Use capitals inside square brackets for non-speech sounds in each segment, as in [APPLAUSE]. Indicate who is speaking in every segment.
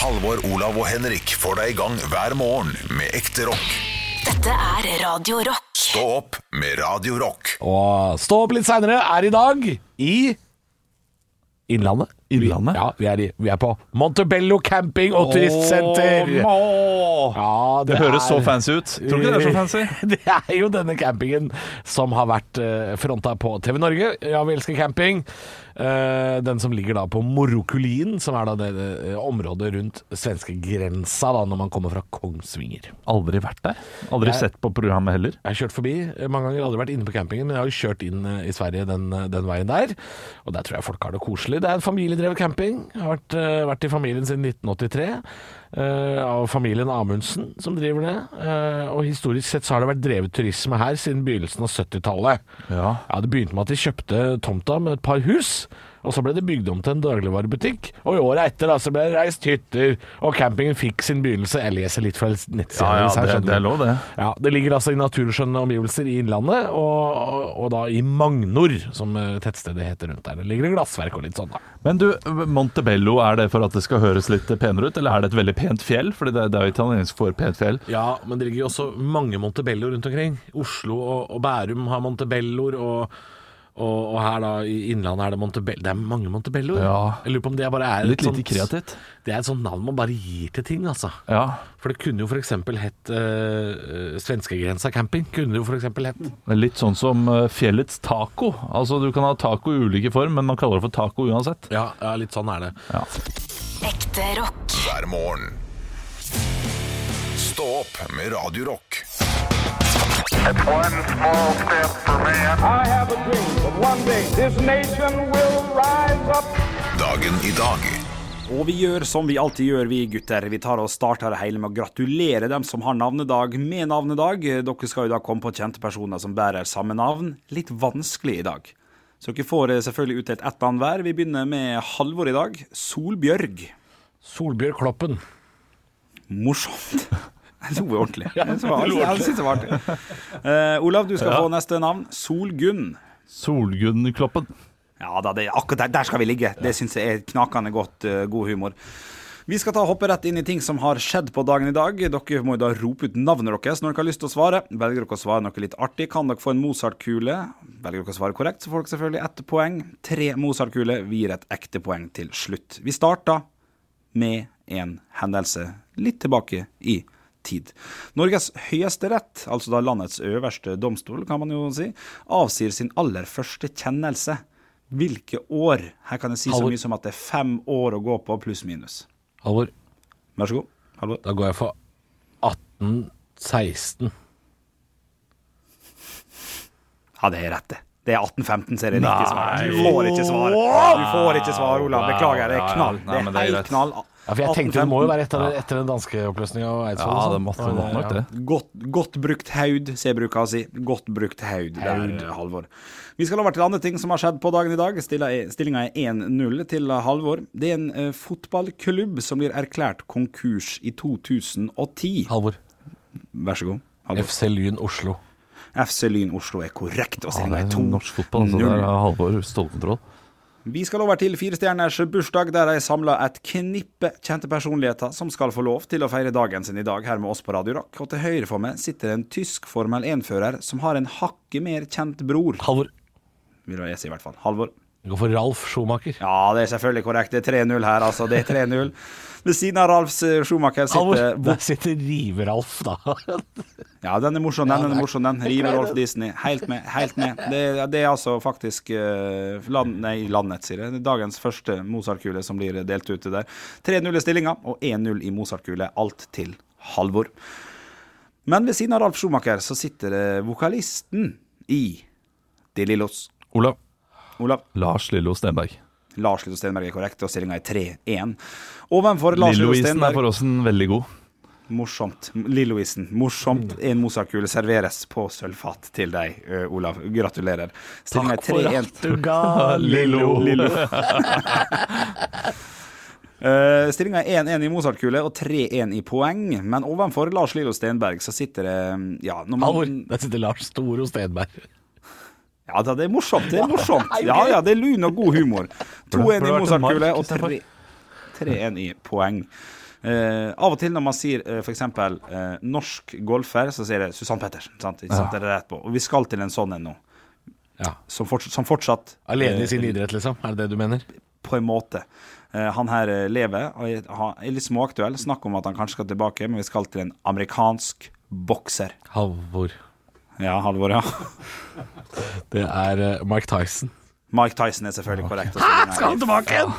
Speaker 1: Halvor, Olav og Henrik får deg i gang hver morgen med ekte rock.
Speaker 2: Dette er Radio Rock.
Speaker 1: Stå opp med Radio Rock.
Speaker 3: Og stå opp litt seinere er i dag i Innlandet.
Speaker 4: Innlandet?
Speaker 3: Ja, vi er, i, vi er på Montebello camping og turistsenter.
Speaker 4: Åh,
Speaker 3: Ja,
Speaker 4: Det høres så
Speaker 3: er- [LAUGHS]
Speaker 4: fancy ut. Tror du ikke [LAUGHS] det er så fancy?
Speaker 3: Det er jo denne campingen som har vært eh, fronta på TV Norge. Ja, vi elsker camping. Eh, Den som ligger da på Morokulien, som er da det det eh, området rundt svenskegrensa da, når man kommer fra Kongsvinger.
Speaker 4: Aldri vært der. Aldri sett på programmet heller.
Speaker 3: Jeg har kjørt forbi eh, mange ganger, aldri vært inne på campingen, men jeg har jo kjørt inn eh, i Sverige den, eh, den veien der. Og der tror jeg folk har det koselig. Det er en familiedrevet camping. Jeg har vært, eh, vært i familien siden 1983. eh, av familien Amundsen som driver det. Eh, og historisk sett så har det vært drevet turisme her siden begynnelsen av 70-tallet.
Speaker 4: Ja.
Speaker 3: Ja, Det begynte med at de kjøpte tomta med et par hus, og så ble det bygd om til en dagligvarebutikk. Og i året etter da, så ble det reist hytter, og campingen fikk sin begynnelse. Jeg leser litt fra nettsida.
Speaker 4: Ja, ja,
Speaker 3: deres her,
Speaker 4: det,
Speaker 3: skjønner
Speaker 4: det
Speaker 3: du.
Speaker 4: er lov, det.
Speaker 3: Ja, Det ligger altså i naturskjønne omgivelser i Innlandet, og, og, og da i Magnor, som eh, tettstedet heter rundt der. Det ligger et glassverk og litt sånn, da.
Speaker 4: Men du, Montebello, er det for at det skal høres litt penere ut, eller er det et veldig pent fjell? Fordi det, det er jo italiensk for pent fjell.
Speaker 3: Ja, men det ligger jo også mange Montebello rundt omkring. Oslo og, og Bærum har Montebelloer, og, og, og her da i Innlandet er det Montebello Det er mange Montebelloer.
Speaker 4: Ja.
Speaker 3: Jeg lurer på om det bare er
Speaker 4: Litt sånn lite kreativt.
Speaker 3: Det er et sånt navn man bare gir til ting, altså.
Speaker 4: Ja.
Speaker 3: For det kunne jo f.eks. hett eh, Svenskegrensa camping. Kunne det jo f.eks. hett
Speaker 4: Det er Litt sånn som eh, fjellets taco. Altså, du kan ha taco i ulike form, men man kaller det for taco uansett.
Speaker 3: ja, ja, litt sånn er det.
Speaker 2: Ekte rock.
Speaker 1: Hver morgen. Stå opp med Radio Rock.
Speaker 5: One small step for man.
Speaker 6: I have a dream that one day this nation will rise up.
Speaker 1: Dagen i dag.
Speaker 7: Og vi gjør som vi alltid gjør, vi gutter. Vi tar og starter det hele med å gratulere dem som har navnedag med navnedag. Dere skal jo da komme på kjente personer som bærer samme navn. Litt vanskelig i dag. Så dere får eh, selvfølgelig utdelt ett navn hver. Vi begynner med Halvor i dag. Solbjørg.
Speaker 3: Solbjørg Kloppen.
Speaker 7: Morsomt. [LAUGHS] Jeg lo ordentlig. Jeg synes det var- jeg synes det var artig. Eh, Olav, du skal få neste navn. Solgunn.
Speaker 4: Solgunnkloppen.
Speaker 7: Ja da, det, akkurat der, der skal vi ligge. Det syns jeg er knakende godt, eh, god humor. Vi skal ta og hoppe rett inn i ting som har skjedd på dagen i dag. Dere må jo da rope ut navnet deres når dere har lyst til å svare. Velger dere å svare noe litt artig, kan dere få en Mozart-kule. Velger dere å svare korrekt, så får dere selvfølgelig ett poeng. Tre Mozart-kuler. Vi gir et ekte poeng til slutt. Vi starter med en hendelse litt tilbake i tid. Norges høyesterett, altså da landets øverste domstol, kan man jo si, avsier sin aller første kjennelse. Hvilke år? Her kan jeg si så
Speaker 3: Halvor.
Speaker 7: mye som at det er fem år å gå på, pluss-minus.
Speaker 3: Halvor.
Speaker 7: Vær så god. Halvor.
Speaker 3: Da går jeg for 1816.
Speaker 7: Ja, det er rett, det. Det er 1815, så er det riktig svar. Du får ikke svar. Du får ikke svar, Olav. Beklager, det
Speaker 4: Ja,
Speaker 7: er
Speaker 4: ja.
Speaker 7: knall.
Speaker 4: Nei,
Speaker 7: Det
Speaker 4: men
Speaker 7: er
Speaker 4: det er
Speaker 7: helt
Speaker 4: greit.
Speaker 7: knall.
Speaker 3: Ja, for jeg tenkte det må jo
Speaker 7: 1815.
Speaker 3: være etter, etter den danske oppløsninga og Eidsvoll.
Speaker 4: Ja,
Speaker 3: og
Speaker 4: Altså, det
Speaker 3: sånn.
Speaker 4: måtte nok nok det.
Speaker 7: Godt, godt brukt haud, sier bruker å si. Godt brukt haud, der, Halvor. Vi skal over til andre ting som har skjedd på dagen i dag. Stillinga er 1-0 til Halvor. Det er en eh, fotballklubb som blir erklært konkurs i 2010.
Speaker 3: Halvor.
Speaker 7: Vær så god. Halvor.
Speaker 3: FC Lyn Oslo.
Speaker 7: FC Lyn Oslo er korrekt,
Speaker 4: Ja,
Speaker 7: og stillinga
Speaker 4: det
Speaker 7: er
Speaker 4: er
Speaker 7: 2.
Speaker 4: norsk fotball, altså.
Speaker 7: Null.
Speaker 4: Der har Halvor stålkontroll.
Speaker 7: Vi skal over til firestjerners bursdag, der jeg samla et knippe kjente personligheter som skal få lov til å feire dagen sin i dag her med oss på Radio Rock. Og til høyre for meg sitter en tysk Formel 1-fører som har en hakket mer kjent bror.
Speaker 3: Halvor.
Speaker 7: Vil jeg si i hvert fall. Halvor.
Speaker 3: Jeg går for Ralf Schomaker.
Speaker 7: Ja, det er selvfølgelig korrekt. Det er 3-0 her, altså. Det er 3-0. Ved siden av Ralfs eh, Schumacher sitter
Speaker 3: Halvor. Der sitter Rive-Ralf, da.
Speaker 7: Ja, den er morsom, den. den er morsom, den. River Rolf Disney. Helt med. helt med. Det, det er altså faktisk eh, land, nei, landet, sier jeg. Det er Dagens første Mozart-kule som blir delt ut der. 3-0 i stillinga og 1-0 i Mozart-kule. Alt til Halvor. Men ved siden av Ralf Schumacher så sitter det vokalisten i De Lillos.
Speaker 4: Olav.
Speaker 7: Olav.
Speaker 4: Lars Lillo Stenberg.
Speaker 7: Lars Lillo Stenberg er korrekt, og stillinga er 3-1. Ovenfor Lars Lillo
Speaker 4: Lilloisen er
Speaker 7: Stenberg
Speaker 4: for oss en veldig god.
Speaker 7: Morsomt. Lilloisen. Morsomt. En Mozart-kule serveres på sølvfat til deg, ø, Olav. Gratulerer.
Speaker 3: [LAUGHS]
Speaker 7: Stillinga er 3-1.
Speaker 3: du ga [LAUGHS]
Speaker 7: Lillo. Eh, Stillinga er 1-1 i Mozart-kule og 3-1 i poeng. Men ovenfor Lars Lillo Stenberg så sitter det mm, Ja, når man,
Speaker 3: Halvor. Der sitter Lars Storo Stenberg.
Speaker 7: ja da, det er morsomt. Det er morsomt. Ja, ja, det er lun og god humor. 2-1 i
Speaker 4: Burde vært en mark
Speaker 7: Mozart-kule og
Speaker 4: istedenfor.
Speaker 7: 3-1 i poeng. Eh, av og til når man sier eh, f.eks. Eh, norsk golfer, så sier det Susann Pettersen. Sant? Ikke sant? Det er det rett på. Og vi skal til en sånn en nå.
Speaker 3: Ja.
Speaker 7: Som, forts som fortsatt eh,
Speaker 3: Alene i sin idrett, liksom? Er det det du mener?
Speaker 7: på en måte. Eh, Han her eh, lever og er- han er litt småaktuell. Snakk om at han kanskje skal tilbake, men vi skal til en amerikansk bokser.
Speaker 3: Halvor.
Speaker 7: Ja, Halvor, ja. [LAUGHS]
Speaker 3: Det er eh, Mike Tyson.
Speaker 7: Mike Tyson er selvfølgelig korrekt. og stillingen er-
Speaker 3: tilbake igjen?!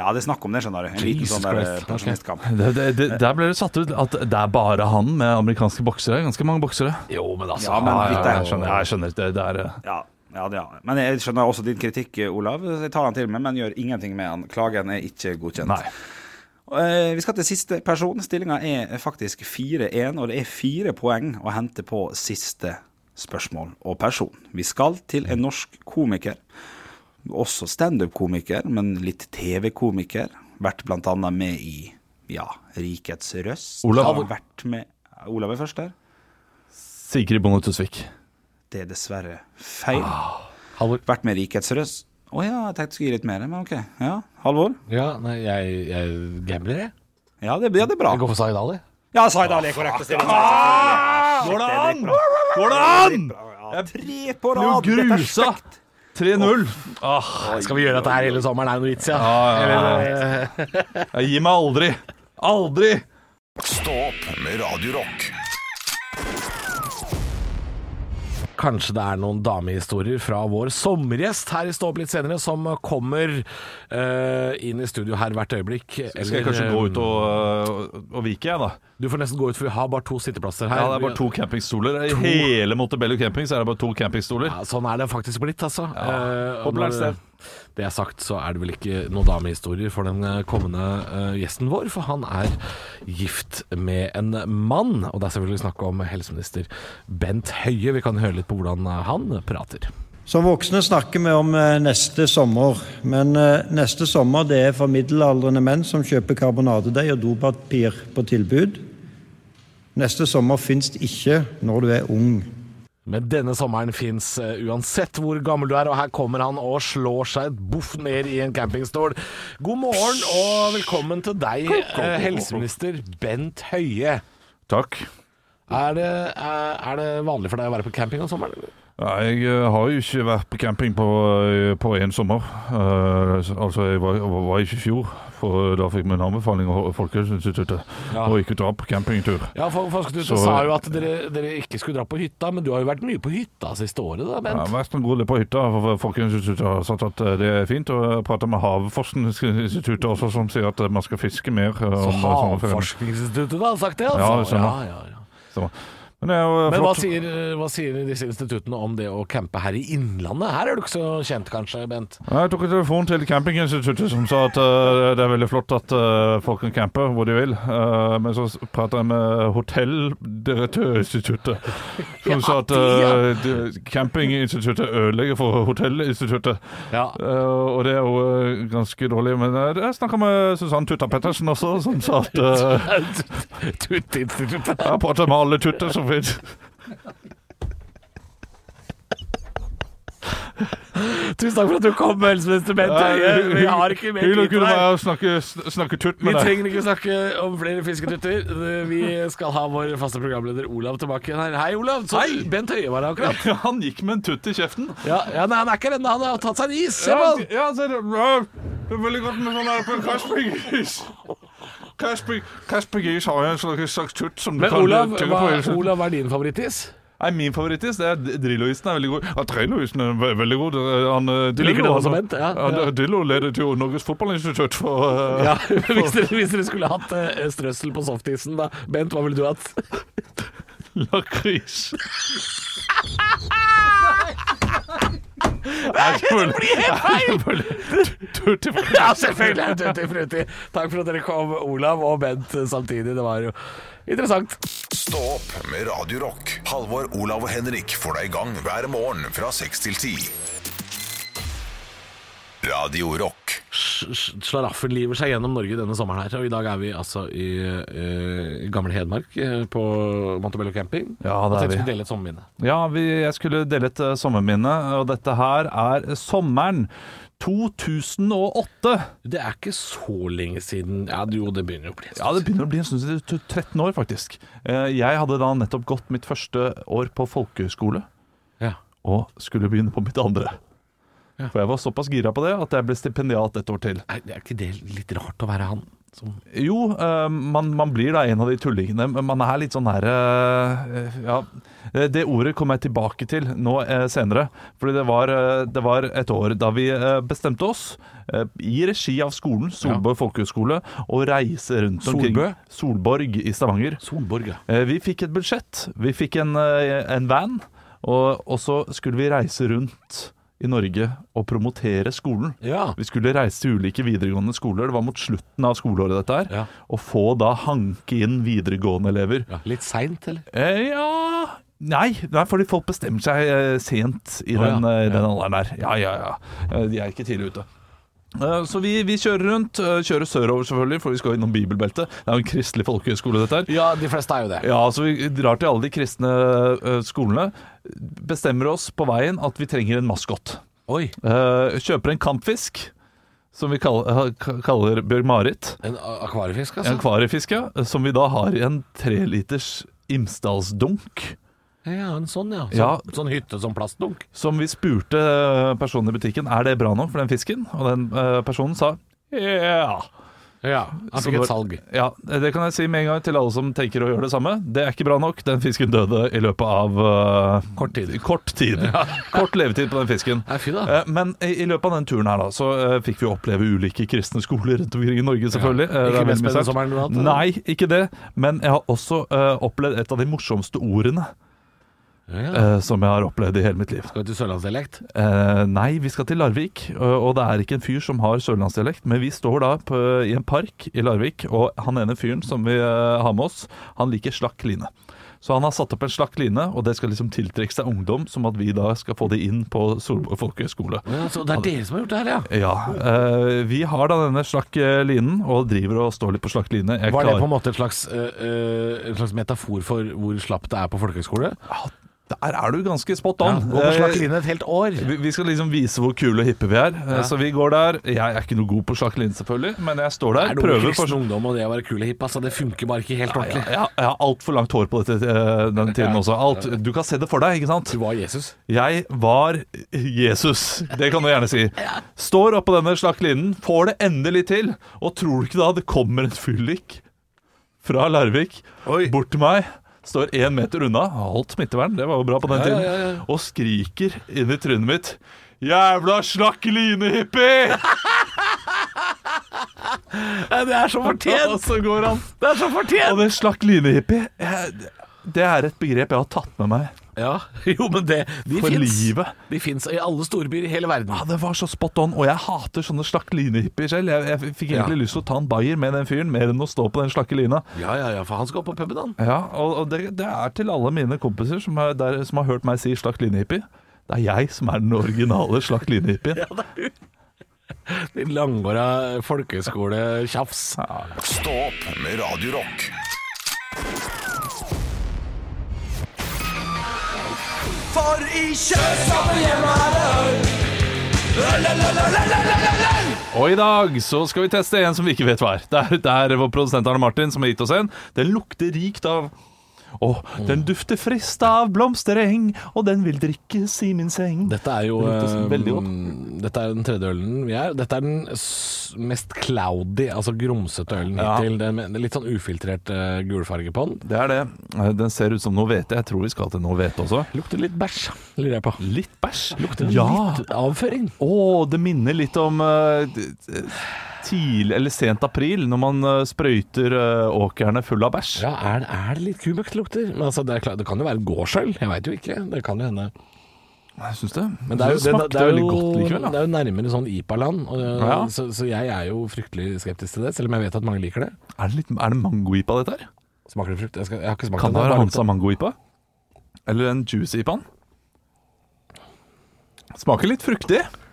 Speaker 7: Ja, det er snakk om det, skjønner du. En liten
Speaker 3: Jesus
Speaker 7: sånn der eh,
Speaker 3: Christ, ok.
Speaker 7: pensjonistkamp.
Speaker 4: Det, det, det, der ble det satt ut at det er bare han med amerikanske boksere. Ganske mange boksere.
Speaker 3: Jo, men altså
Speaker 7: Ja, men
Speaker 3: han-
Speaker 7: litt der.
Speaker 4: jeg skjønner. Jeg skjønner det, det er, eh,
Speaker 7: Ja, ja, det er han. Men jeg skjønner også din kritikk, eh, Olav. Jeg tar han til meg, men gjør ingenting med han. Klagen er ikke godkjent.
Speaker 4: nei.
Speaker 7: Eh, Vi skal til siste person. Stillinga er faktisk 4-1, og det er fire poeng å hente på siste spørsmål og person. Vi skal til en norsk komiker. Også standup-komiker, men litt TV-komiker. Vært blant annet med i ja, Rikets Røst.
Speaker 4: Olav.
Speaker 7: Har vært med Olav er først der.
Speaker 4: Sigrid Bonde Tusvik.
Speaker 7: Det er dessverre feil.
Speaker 3: Ah, Halvor.
Speaker 7: Vært med i Rikets Røst. Å ja, jeg tenkte du skulle gi litt mer, men ok. Ja, Halvor?
Speaker 3: Ja, nei, jeg, jeg gambler, jeg.
Speaker 7: Ja, det, ja, det er bra.
Speaker 3: Jeg går for Zaid Ali.
Speaker 7: Ja, Zaid Ali er korrekt. Går det an?!
Speaker 4: Går det an?!
Speaker 7: Tre på
Speaker 4: Jo,
Speaker 7: rad! Dette er
Speaker 4: grusa! 3-0. Ah,
Speaker 3: Skal vi gjøre dette her hele sommeren? Er det noe vits, ja?
Speaker 4: ja, ja, ja.
Speaker 3: Eller, eh,
Speaker 4: Ah, jeg gir meg aldri. Aldri!
Speaker 1: Stå opp med Radio Rock.
Speaker 3: Kanskje det er noen damehistorier fra vår sommergjest her i Stå opp litt senere, som kommer eh, inn i studio her hvert øyeblikk.
Speaker 4: Skal jeg kanskje gå ut og, og, og vike, jeg, da?
Speaker 3: eh, Du får nesten gå ut, for vi har bare to sitteplasser her.
Speaker 4: Ja, det er bare to campingstoler. I hele Montebello camping så er det bare to campingstoler.
Speaker 3: Ja, sånn er det faktisk blitt, altså. Eh, og
Speaker 4: Håper det er et
Speaker 3: når
Speaker 4: sted.
Speaker 3: det er sagt, så er det vel ikke noen damehistorier for den eh, kommende eh, gjesten vår, for han er gift med en mann. Og det er selvfølgelig snakk om helseminister Bent Høie. Vi kan høre litt på hvordan eh, han prater.
Speaker 8: Som voksne snakker vi om eh, neste sommer, men eh, neste sommer det er for middelaldrende menn som kjøper karbonadedeig og dopapir på tilbud. Neste sommer fins det ikke når du er ung.
Speaker 3: Men denne sommeren fins uansett hvor gammel du er, og her kommer han og slår seg et boff ned i en campingstol. God morgen og velkommen til deg, eh, helseminister Bent Høie.
Speaker 4: Takk.
Speaker 3: Er det, er er det vanlig for deg å være på camping om sommeren? eller?
Speaker 4: Ja, jeg eh, har jo ikke vært på camping på, eh, på en sommer. Eh, så- altså, jeg var, var var ikke i fjor, for da fikk vi en anbefaling av Folkehelseinstituttet
Speaker 3: Ja.
Speaker 4: og ikke dra på campingtur.
Speaker 3: Ja, for Forskningsinstituttet
Speaker 4: Så-
Speaker 3: sa jo at dere, dere ikke skulle dra på hytta, men du har jo vært mye på hytta siste året, da,
Speaker 4: Jeg har
Speaker 3: Bent.
Speaker 4: vært en god del på hytta, for Folkehelseinstituttet har sagt at eh, det er fint. Og jeg prater med Havforskningsinstituttet også, som sier at eh, man skal fiske mer. eh,
Speaker 3: Så
Speaker 4: om sommerferien.
Speaker 3: Havforskningsinstituttet har sagt det,
Speaker 4: Ja, det
Speaker 3: altså.
Speaker 4: stemmer.
Speaker 3: ja, ja.
Speaker 4: Så- Men det er jo eh,
Speaker 3: Men hva
Speaker 4: flott.
Speaker 3: sier, hva sier disse instituttene om det å campe her i Innlandet? Her er du ikke så kjent, kanskje, Bent?
Speaker 4: Ja, Jeg tok en telefon til campinginstituttet som sa at eh, det er veldig flott at eh, folk kan campe hvor de vil. Eh, men så s- pratet jeg med
Speaker 3: [LAUGHS]
Speaker 4: hotelldirektørinstituttet, som sa at eh, de- campinginstituttet ødelegger for hotellinstituttet.
Speaker 3: Ja.
Speaker 4: Eh, og det er jo eh, ganske dårlig. Men eh, jeg snakka med Susann Tutta Pettersen også, som sa at
Speaker 3: [LAUGHS]
Speaker 4: eh,
Speaker 3: Tutteinstituttet.
Speaker 4: jeg prater med alle tutter som fins.
Speaker 3: [LAUGHS] Tusen takk for at du kom, helseminister Bent Høie.
Speaker 4: Eh,
Speaker 3: Vi har ikke mer tid til
Speaker 4: kunne
Speaker 3: deg.
Speaker 4: være å snakke, snakke tutt
Speaker 3: Vi
Speaker 4: med deg.
Speaker 3: trenger [LAUGHS] ikke snakke om flere fisketutter. Vi skal ha vår faste programleder Olav tilbake igjen her. Hei, Olav. Så Bent Høie var her akkurat.
Speaker 4: Han gikk med en tutt i kjeften.
Speaker 3: Ja, ja, nei, han er ikke her ennå. Han har tatt seg en is. Se på
Speaker 4: Ja,
Speaker 3: han.
Speaker 4: ja så er det, ja, det er veldig godt med sånn her på Kaspergris. Kasper, Kaspergris har jo en slags, slags tutt som du
Speaker 3: Men
Speaker 4: kan
Speaker 3: Olav,
Speaker 4: tygge
Speaker 3: hva,
Speaker 4: på. hele tiden.
Speaker 3: Olav, hva er din favorittis?
Speaker 4: Nei, min favorittis det er Drillo-isen er veldig god. Ja, Drillo-isen er ve veldig god. Det er- Han, eh,
Speaker 3: Du liker
Speaker 4: Drillo,
Speaker 3: den også,
Speaker 4: han-
Speaker 3: Bent, ja.
Speaker 4: han- Drillo ledet jo Norges fotballinstitutt for eh,
Speaker 3: Ja, [LAUGHS] hvis, dere, hvis dere skulle hatt eh, strøssel på softisen, da. Bent, hva ville du hatt? [LAUGHS]
Speaker 4: lakris. Nei, det blir
Speaker 3: [LAUGHS]
Speaker 4: helt feil! Tutti frutti.
Speaker 3: Ja, selvfølgelig er det Tutti Frutti. Takk for at dere kom, Olav og Bent, eh, samtidig. Det var jo interessant.
Speaker 1: Stå opp med Radio Rock. Halvor, Olav og Henrik får deg i gang hver morgen fra 6 til 10. Radio Rock.
Speaker 3: Slaraffen liver seg gjennom Norge denne sommeren her. Og i dag er vi altså i eh, gamle Hedmark, eh, på Montebello camping.
Speaker 4: Ja,
Speaker 3: Og
Speaker 4: det
Speaker 3: tenkte
Speaker 4: er vi.
Speaker 3: vi skulle dele et sommerminne.
Speaker 4: Ja, vi, jeg skulle dele et eh, sommerminne, og dette her er sommeren. 2008.
Speaker 3: Det er ikke så lenge siden Ja, jo, det begynner jo å bli en
Speaker 4: Ja, det begynner å bli en stund siden. t- 13 år, faktisk. Eh, Jeg hadde da nettopp gått mitt første år på folkehøyskole,
Speaker 3: Ja.
Speaker 4: og skulle begynne på mitt andre.
Speaker 3: Ja.
Speaker 4: For jeg var såpass gira på det at jeg ble stipendiat et år til.
Speaker 3: Nei, det er ikke det litt rart å være han som
Speaker 4: Jo, eh, man, man blir da en av de tullingene, men man er litt sånn her eh, Ja. Eh, Det ordet kommer jeg tilbake til nå eh, senere. Fordi det var, eh, det var et år da vi eh, bestemte oss, eh, i regi av skolen, Solbø folkehøgskole, å reise rundt omkring.
Speaker 3: Solbø?
Speaker 4: Solborg i Stavanger.
Speaker 3: Solborg, ja.
Speaker 4: Eh, Vi fikk et budsjett, vi fikk en, eh, en van, og, og så skulle vi reise rundt i Norge og promotere skolen.
Speaker 3: Ja.
Speaker 4: Vi skulle reise til ulike videregående skoler, det var mot slutten av skoleåret dette her,
Speaker 3: Ja.
Speaker 4: og få da hanke inn videregående elever.
Speaker 3: ja. Litt seint, eller?
Speaker 4: Eh, ja Nei, nei, fordi folk bestemmer seg eh, sent i
Speaker 3: Å, ja.
Speaker 4: den, eh, den
Speaker 3: Ja.
Speaker 4: alderen der. Ja, ja, ja. Eh, de er ikke tidlig ute. Eh, Så vi, vi kjører rundt. eh, Kjører sørover, selvfølgelig, for vi skal innom Bibelbeltet. Det er jo en kristelig folkehøyskole, dette her.
Speaker 3: Ja, de fleste er jo det.
Speaker 4: Ja, så vi drar til alle de kristne ø, skolene. Bestemmer oss på veien at vi trenger en maskot.
Speaker 3: Oi.
Speaker 4: Eh, kjøper en kampfisk, som vi kall- ha- ka- kaller Bjørn-Marit.
Speaker 3: En a- akvariefisk,
Speaker 4: En
Speaker 3: altså?
Speaker 4: akvariefisk, ja. Som vi da har i en treliters Imsdalsdunk.
Speaker 3: Ja, en sånn, ja. Sånn,
Speaker 4: Ja.
Speaker 3: sånn hytte som plastdunk.
Speaker 4: Som vi spurte ø, personen i butikken er det bra nok for den fisken. Og den ø, personen sa ja.
Speaker 3: Ja. Han
Speaker 4: Så
Speaker 3: fikk
Speaker 4: det-
Speaker 3: et salg.
Speaker 4: Ja, det kan jeg si med en gang til alle som tenker å gjøre det samme. Det er ikke bra nok. Den fisken døde i løpet av eh,
Speaker 3: Kort tid.
Speaker 4: Kort, tid. [LAUGHS] kort levetid på den fisken.
Speaker 3: Nei, fy da.
Speaker 4: Eh, Men i i løpet av den turen her da, så eh, fikk vi oppleve ulike kristne skoler rundt omkring i Norge, selvfølgelig.
Speaker 3: Ja.
Speaker 4: Eh, det er
Speaker 3: Ikke
Speaker 4: veldig
Speaker 3: mest
Speaker 4: mye
Speaker 3: spennende
Speaker 4: sagt.
Speaker 3: sommeren du har hatt, eller?
Speaker 4: Nei, ikke det. Men jeg har også eh, opplevd et av de morsomste ordene
Speaker 3: Ja.
Speaker 4: eh, som jeg har opplevd i hele mitt liv.
Speaker 3: Skal vi til sørlandsdialekt?
Speaker 4: Eh, nei, vi skal til Larvik, og- og det er ikke en fyr som har sørlandsdialekt, men vi står da på, i en park i Larvik, og han ene fyren som vi eh, har med oss, han liker slakk line. Så han har satt opp en slakk line, og det skal liksom tiltrekke seg ungdom, som at vi da skal få det inn på Solborg folkehøgskole.
Speaker 3: Ja, så det er dere som har gjort det her, ja?
Speaker 4: Ja, eh, vi har da denne slakk eh, linen, og driver og står litt på slakk line.
Speaker 3: Var det
Speaker 4: Jeg klarer-
Speaker 3: på en måte et slags, øh, øh, en slags metafor for hvor slapp det er på folkehøyskole?
Speaker 4: Ja, Ah, Der er du ganske spot
Speaker 3: Ja,
Speaker 4: on.
Speaker 3: gå på
Speaker 4: Eh,
Speaker 3: slakkeline et helt år.
Speaker 4: Vi, vi skal liksom vise hvor kule og hippe vi er. Eh, Så vi går der. Jeg er ikke noe god på slakk line, selvfølgelig, men jeg står
Speaker 3: Er
Speaker 4: der.
Speaker 3: det noe
Speaker 4: Prøver
Speaker 3: kristen
Speaker 4: for
Speaker 3: ungdom og det å være kul og hipp? Altså, det funker bare ikke helt
Speaker 4: ja,
Speaker 3: ordentlig.
Speaker 4: ja, Jeg har altfor langt hår på dette, eh, den tiden også. Alt, du kan se det for deg, ikke sant?
Speaker 3: Du var Jesus.
Speaker 4: Jeg var Jesus, det kan du gjerne si. Står oppå denne slakk linen, får det endelig til, og tror du ikke da det kommer en fyllik fra Larvik bort til meg? Står én meter unna, har holdt smittevern, det var jo bra på den
Speaker 3: Ja, ja,
Speaker 4: tiden,
Speaker 3: ja, ja.
Speaker 4: og skriker inn i trynet mitt Jævla slakk line-hippie!
Speaker 3: Det er så
Speaker 4: [LAUGHS] Og så går han.
Speaker 3: Det er så fortjent!
Speaker 4: Og det slakk line-hippie, jeg- det er et begrep jeg har tatt med meg
Speaker 3: Ja, [LAUGHS] jo, men det De
Speaker 4: for
Speaker 3: fins.
Speaker 4: livet.
Speaker 3: De fins i alle storbyer i hele verden.
Speaker 4: Ja, det var så spot on, og jeg hater sånne slakk line-hippier selv. Jeg, jeg fikk egentlig lyst til å ta en bayer med den fyren, mer enn å stå på den slakke lina.
Speaker 3: Ja, ja, ja, for han skal opp på puben, han.
Speaker 4: Ja, og, og det, det er til alle mine kompiser som, er der, som har hørt meg si slakk line-hippie. Det er jeg som er den originale slakk [LAUGHS] line-hippien.
Speaker 3: Din langåra folkehøyskole-tjafs.
Speaker 1: Stå opp med Radio Rock.
Speaker 4: Og i dag så skal vi teste en som vi ikke vet hva er. Det er, det er vår produsent Arne Martin som har gitt oss en. Den lukter rikt av Å, den dufter frist av blomstereng, og den vil drikkes i min seng.
Speaker 3: Dette er jo
Speaker 4: Det lukter så
Speaker 3: eh,
Speaker 4: veldig godt.
Speaker 3: mm, Dette er den tredje ølen vi er. Dette er den s- mest cloudy, altså grumsete ølen
Speaker 4: Ja.
Speaker 3: hittil. Det er med- det er litt sånn ufiltrert eh, gulfarge på den.
Speaker 4: Det er det. Eh, Den ser ut som noe hvete. Jeg tror vi skal til noe hvete også.
Speaker 3: Lukter litt bæsj, lurer jeg på.
Speaker 4: Litt bæsj?
Speaker 3: ja.
Speaker 4: ja.
Speaker 3: litt avføring.
Speaker 4: Å, det minner litt om eh, d- d- tidlig eller sent april, når man eh, sprøyter eh, åkrene full av bæsj.
Speaker 3: Ja, er, det- er det litt kumøkklukter? Men altså, det, er klart, det kan jo være gårdsøl, jeg veit jo ikke. Det kan jo hende.
Speaker 4: Jeg syns det.
Speaker 3: Men det er jo,
Speaker 4: det smakte
Speaker 3: det, det er
Speaker 4: veldig
Speaker 3: jo,
Speaker 4: godt likevel.
Speaker 3: det
Speaker 4: Da.
Speaker 3: er jo nærmere sånn IPA-land, og,
Speaker 4: Ja.
Speaker 3: så, så jeg er jo fryktelig skeptisk til det, selv om jeg vet at mange liker det.
Speaker 4: Er, det litt, er det mango-ipa, dette her?
Speaker 3: Smaker det frukt? Jeg, skal, jeg har ikke smakt
Speaker 4: Kan det
Speaker 3: den, jeg
Speaker 4: være
Speaker 3: har bare
Speaker 4: Hansa mango-ipa? Eller en juice-ipaen? Smaker litt fruktig.
Speaker 3: lukta-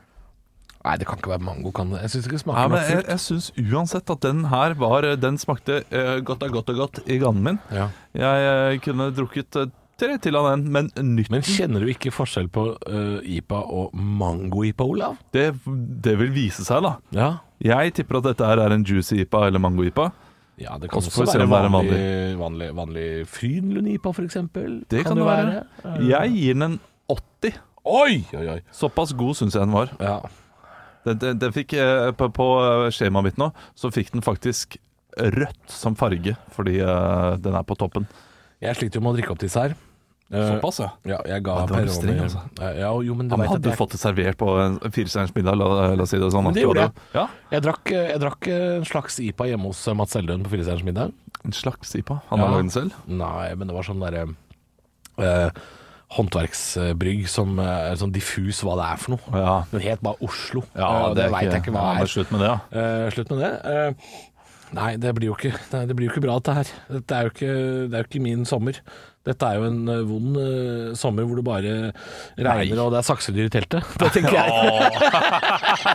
Speaker 3: Nei, det kan ikke være mango, kan det? Jeg syns ikke det
Speaker 4: Ja,
Speaker 3: smaker
Speaker 4: men
Speaker 3: noe
Speaker 4: jeg,
Speaker 3: frukt.
Speaker 4: jeg syns uansett at den eh, her var Den smakte eh, godt og godt og godt i ganen min.
Speaker 3: Ja.
Speaker 4: Jeg eh, kunne drukket eh, Tre til av den, men nytt
Speaker 3: Men kjenner du ikke forskjell på eh, IPA og mango-IPA, Olav?
Speaker 4: det, det vil vise seg, da.
Speaker 3: Ja.
Speaker 4: Jeg tipper at dette her er en juicy IPA eller mango-IPA.
Speaker 3: ja det kan
Speaker 4: Også
Speaker 3: også,
Speaker 4: får vi se
Speaker 3: være
Speaker 4: om det er en
Speaker 3: vanlig, vanlig, vanlig, Frydenlund-IPA, f.eks.
Speaker 4: Det kan, det være. Jeg gir den en 80.
Speaker 3: Oi, oi, oi.
Speaker 4: Såpass god syns jeg den var.
Speaker 3: Ja.
Speaker 4: Den, den, den fikk, eh, på, på skjemaet mitt nå så fikk den faktisk rødt som farge, fordi eh, den er på toppen.
Speaker 3: Jeg sliter jo med å drikke opp disse her. Eh,
Speaker 4: Såpass, ja.
Speaker 3: Ja, jeg ga
Speaker 4: Ja, det var
Speaker 3: Per
Speaker 4: litt streng,
Speaker 3: Ronny-
Speaker 4: altså.
Speaker 3: Ja, jo, men du
Speaker 4: Han
Speaker 3: vet at
Speaker 4: hadde
Speaker 3: jeg,
Speaker 4: fått det servert på en firestjerners middag, la, la oss si det sånn.
Speaker 3: Men det
Speaker 4: at du
Speaker 3: gjorde
Speaker 4: hadde- Ja,
Speaker 3: jeg, drakk, eh, jeg drakk en slags IPA hjemme hos eh, Mats Eldøen på Firestjerners middag.
Speaker 4: En slags IPA. Han har
Speaker 3: Ja.
Speaker 4: lagd den selv.
Speaker 3: Nei, men det var sånn derre eh, håndverksbrygg som eh, er sånn diffus hva det er for noe.
Speaker 4: Ja.
Speaker 3: Den het bare Oslo,
Speaker 4: Ja,
Speaker 3: eh, og det, vet veit jeg ikke hva
Speaker 4: ja, men
Speaker 3: er.
Speaker 4: Slutt med det, ja.
Speaker 3: Eh, slutt med det. Eh, nei, det blir jo ikke, nei, det blir jo ikke bra, dette her. Dette er jo ikke, det er jo ikke min sommer. Dette er jo en eh, vond eh, sommer hvor det bare regner og det er saksedyr i teltet. [LAUGHS] Det tenker jeg.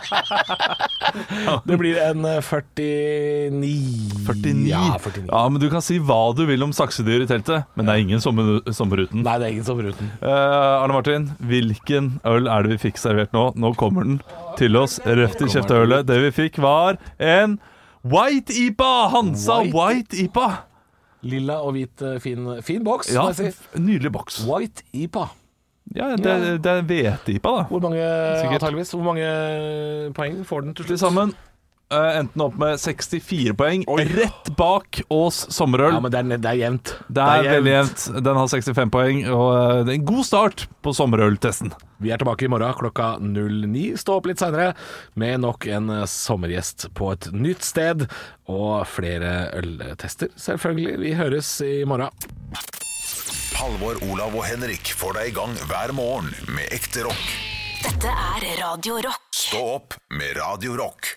Speaker 3: [LAUGHS] det blir en eh, 49
Speaker 4: 49.
Speaker 3: Ja, 49.
Speaker 4: Ja, men Du kan si hva du vil om saksedyr i teltet, men det er ingen sommer, sommer uten.
Speaker 3: Nei, det er ingen sommer uten.
Speaker 4: Eh, Arne Martin, hvilken øl er det vi fikk servert nå? Nå kommer den til oss. Røft i kjefteølet. Det vi fikk, var en White IPA! Hansa White, IPA.
Speaker 3: Lilla og hvit, eh, fin, fin boks,
Speaker 4: Ja,
Speaker 3: må jeg si.
Speaker 4: Nydelig boks.
Speaker 3: White IPA.
Speaker 4: Ja, det, det er hvete-IPA, da.
Speaker 3: Hvor mange,
Speaker 4: Sikkert.
Speaker 3: antageligvis, hvor mange poeng får den til
Speaker 4: Til
Speaker 3: slutt?
Speaker 4: sammen eh, endte den opp med 64 poeng, rett bak Ås sommerøl.
Speaker 3: Ja, men det er, det er jevnt.
Speaker 4: det er veldig jevnt. Den har 65 poeng, og eh, det er en god start på sommerøltesten.
Speaker 3: Vi er tilbake i morgen klokka 09. Stå opp litt seinere med nok en eh, sommergjest på et nytt sted. Og flere øltester, selvfølgelig. Vi høres i morgen.
Speaker 1: Halvor, Olav og Henrik får deg i gang hver morgen med ekte rock.
Speaker 2: Dette er Radio Rock.
Speaker 1: Stå opp med Radio Rock.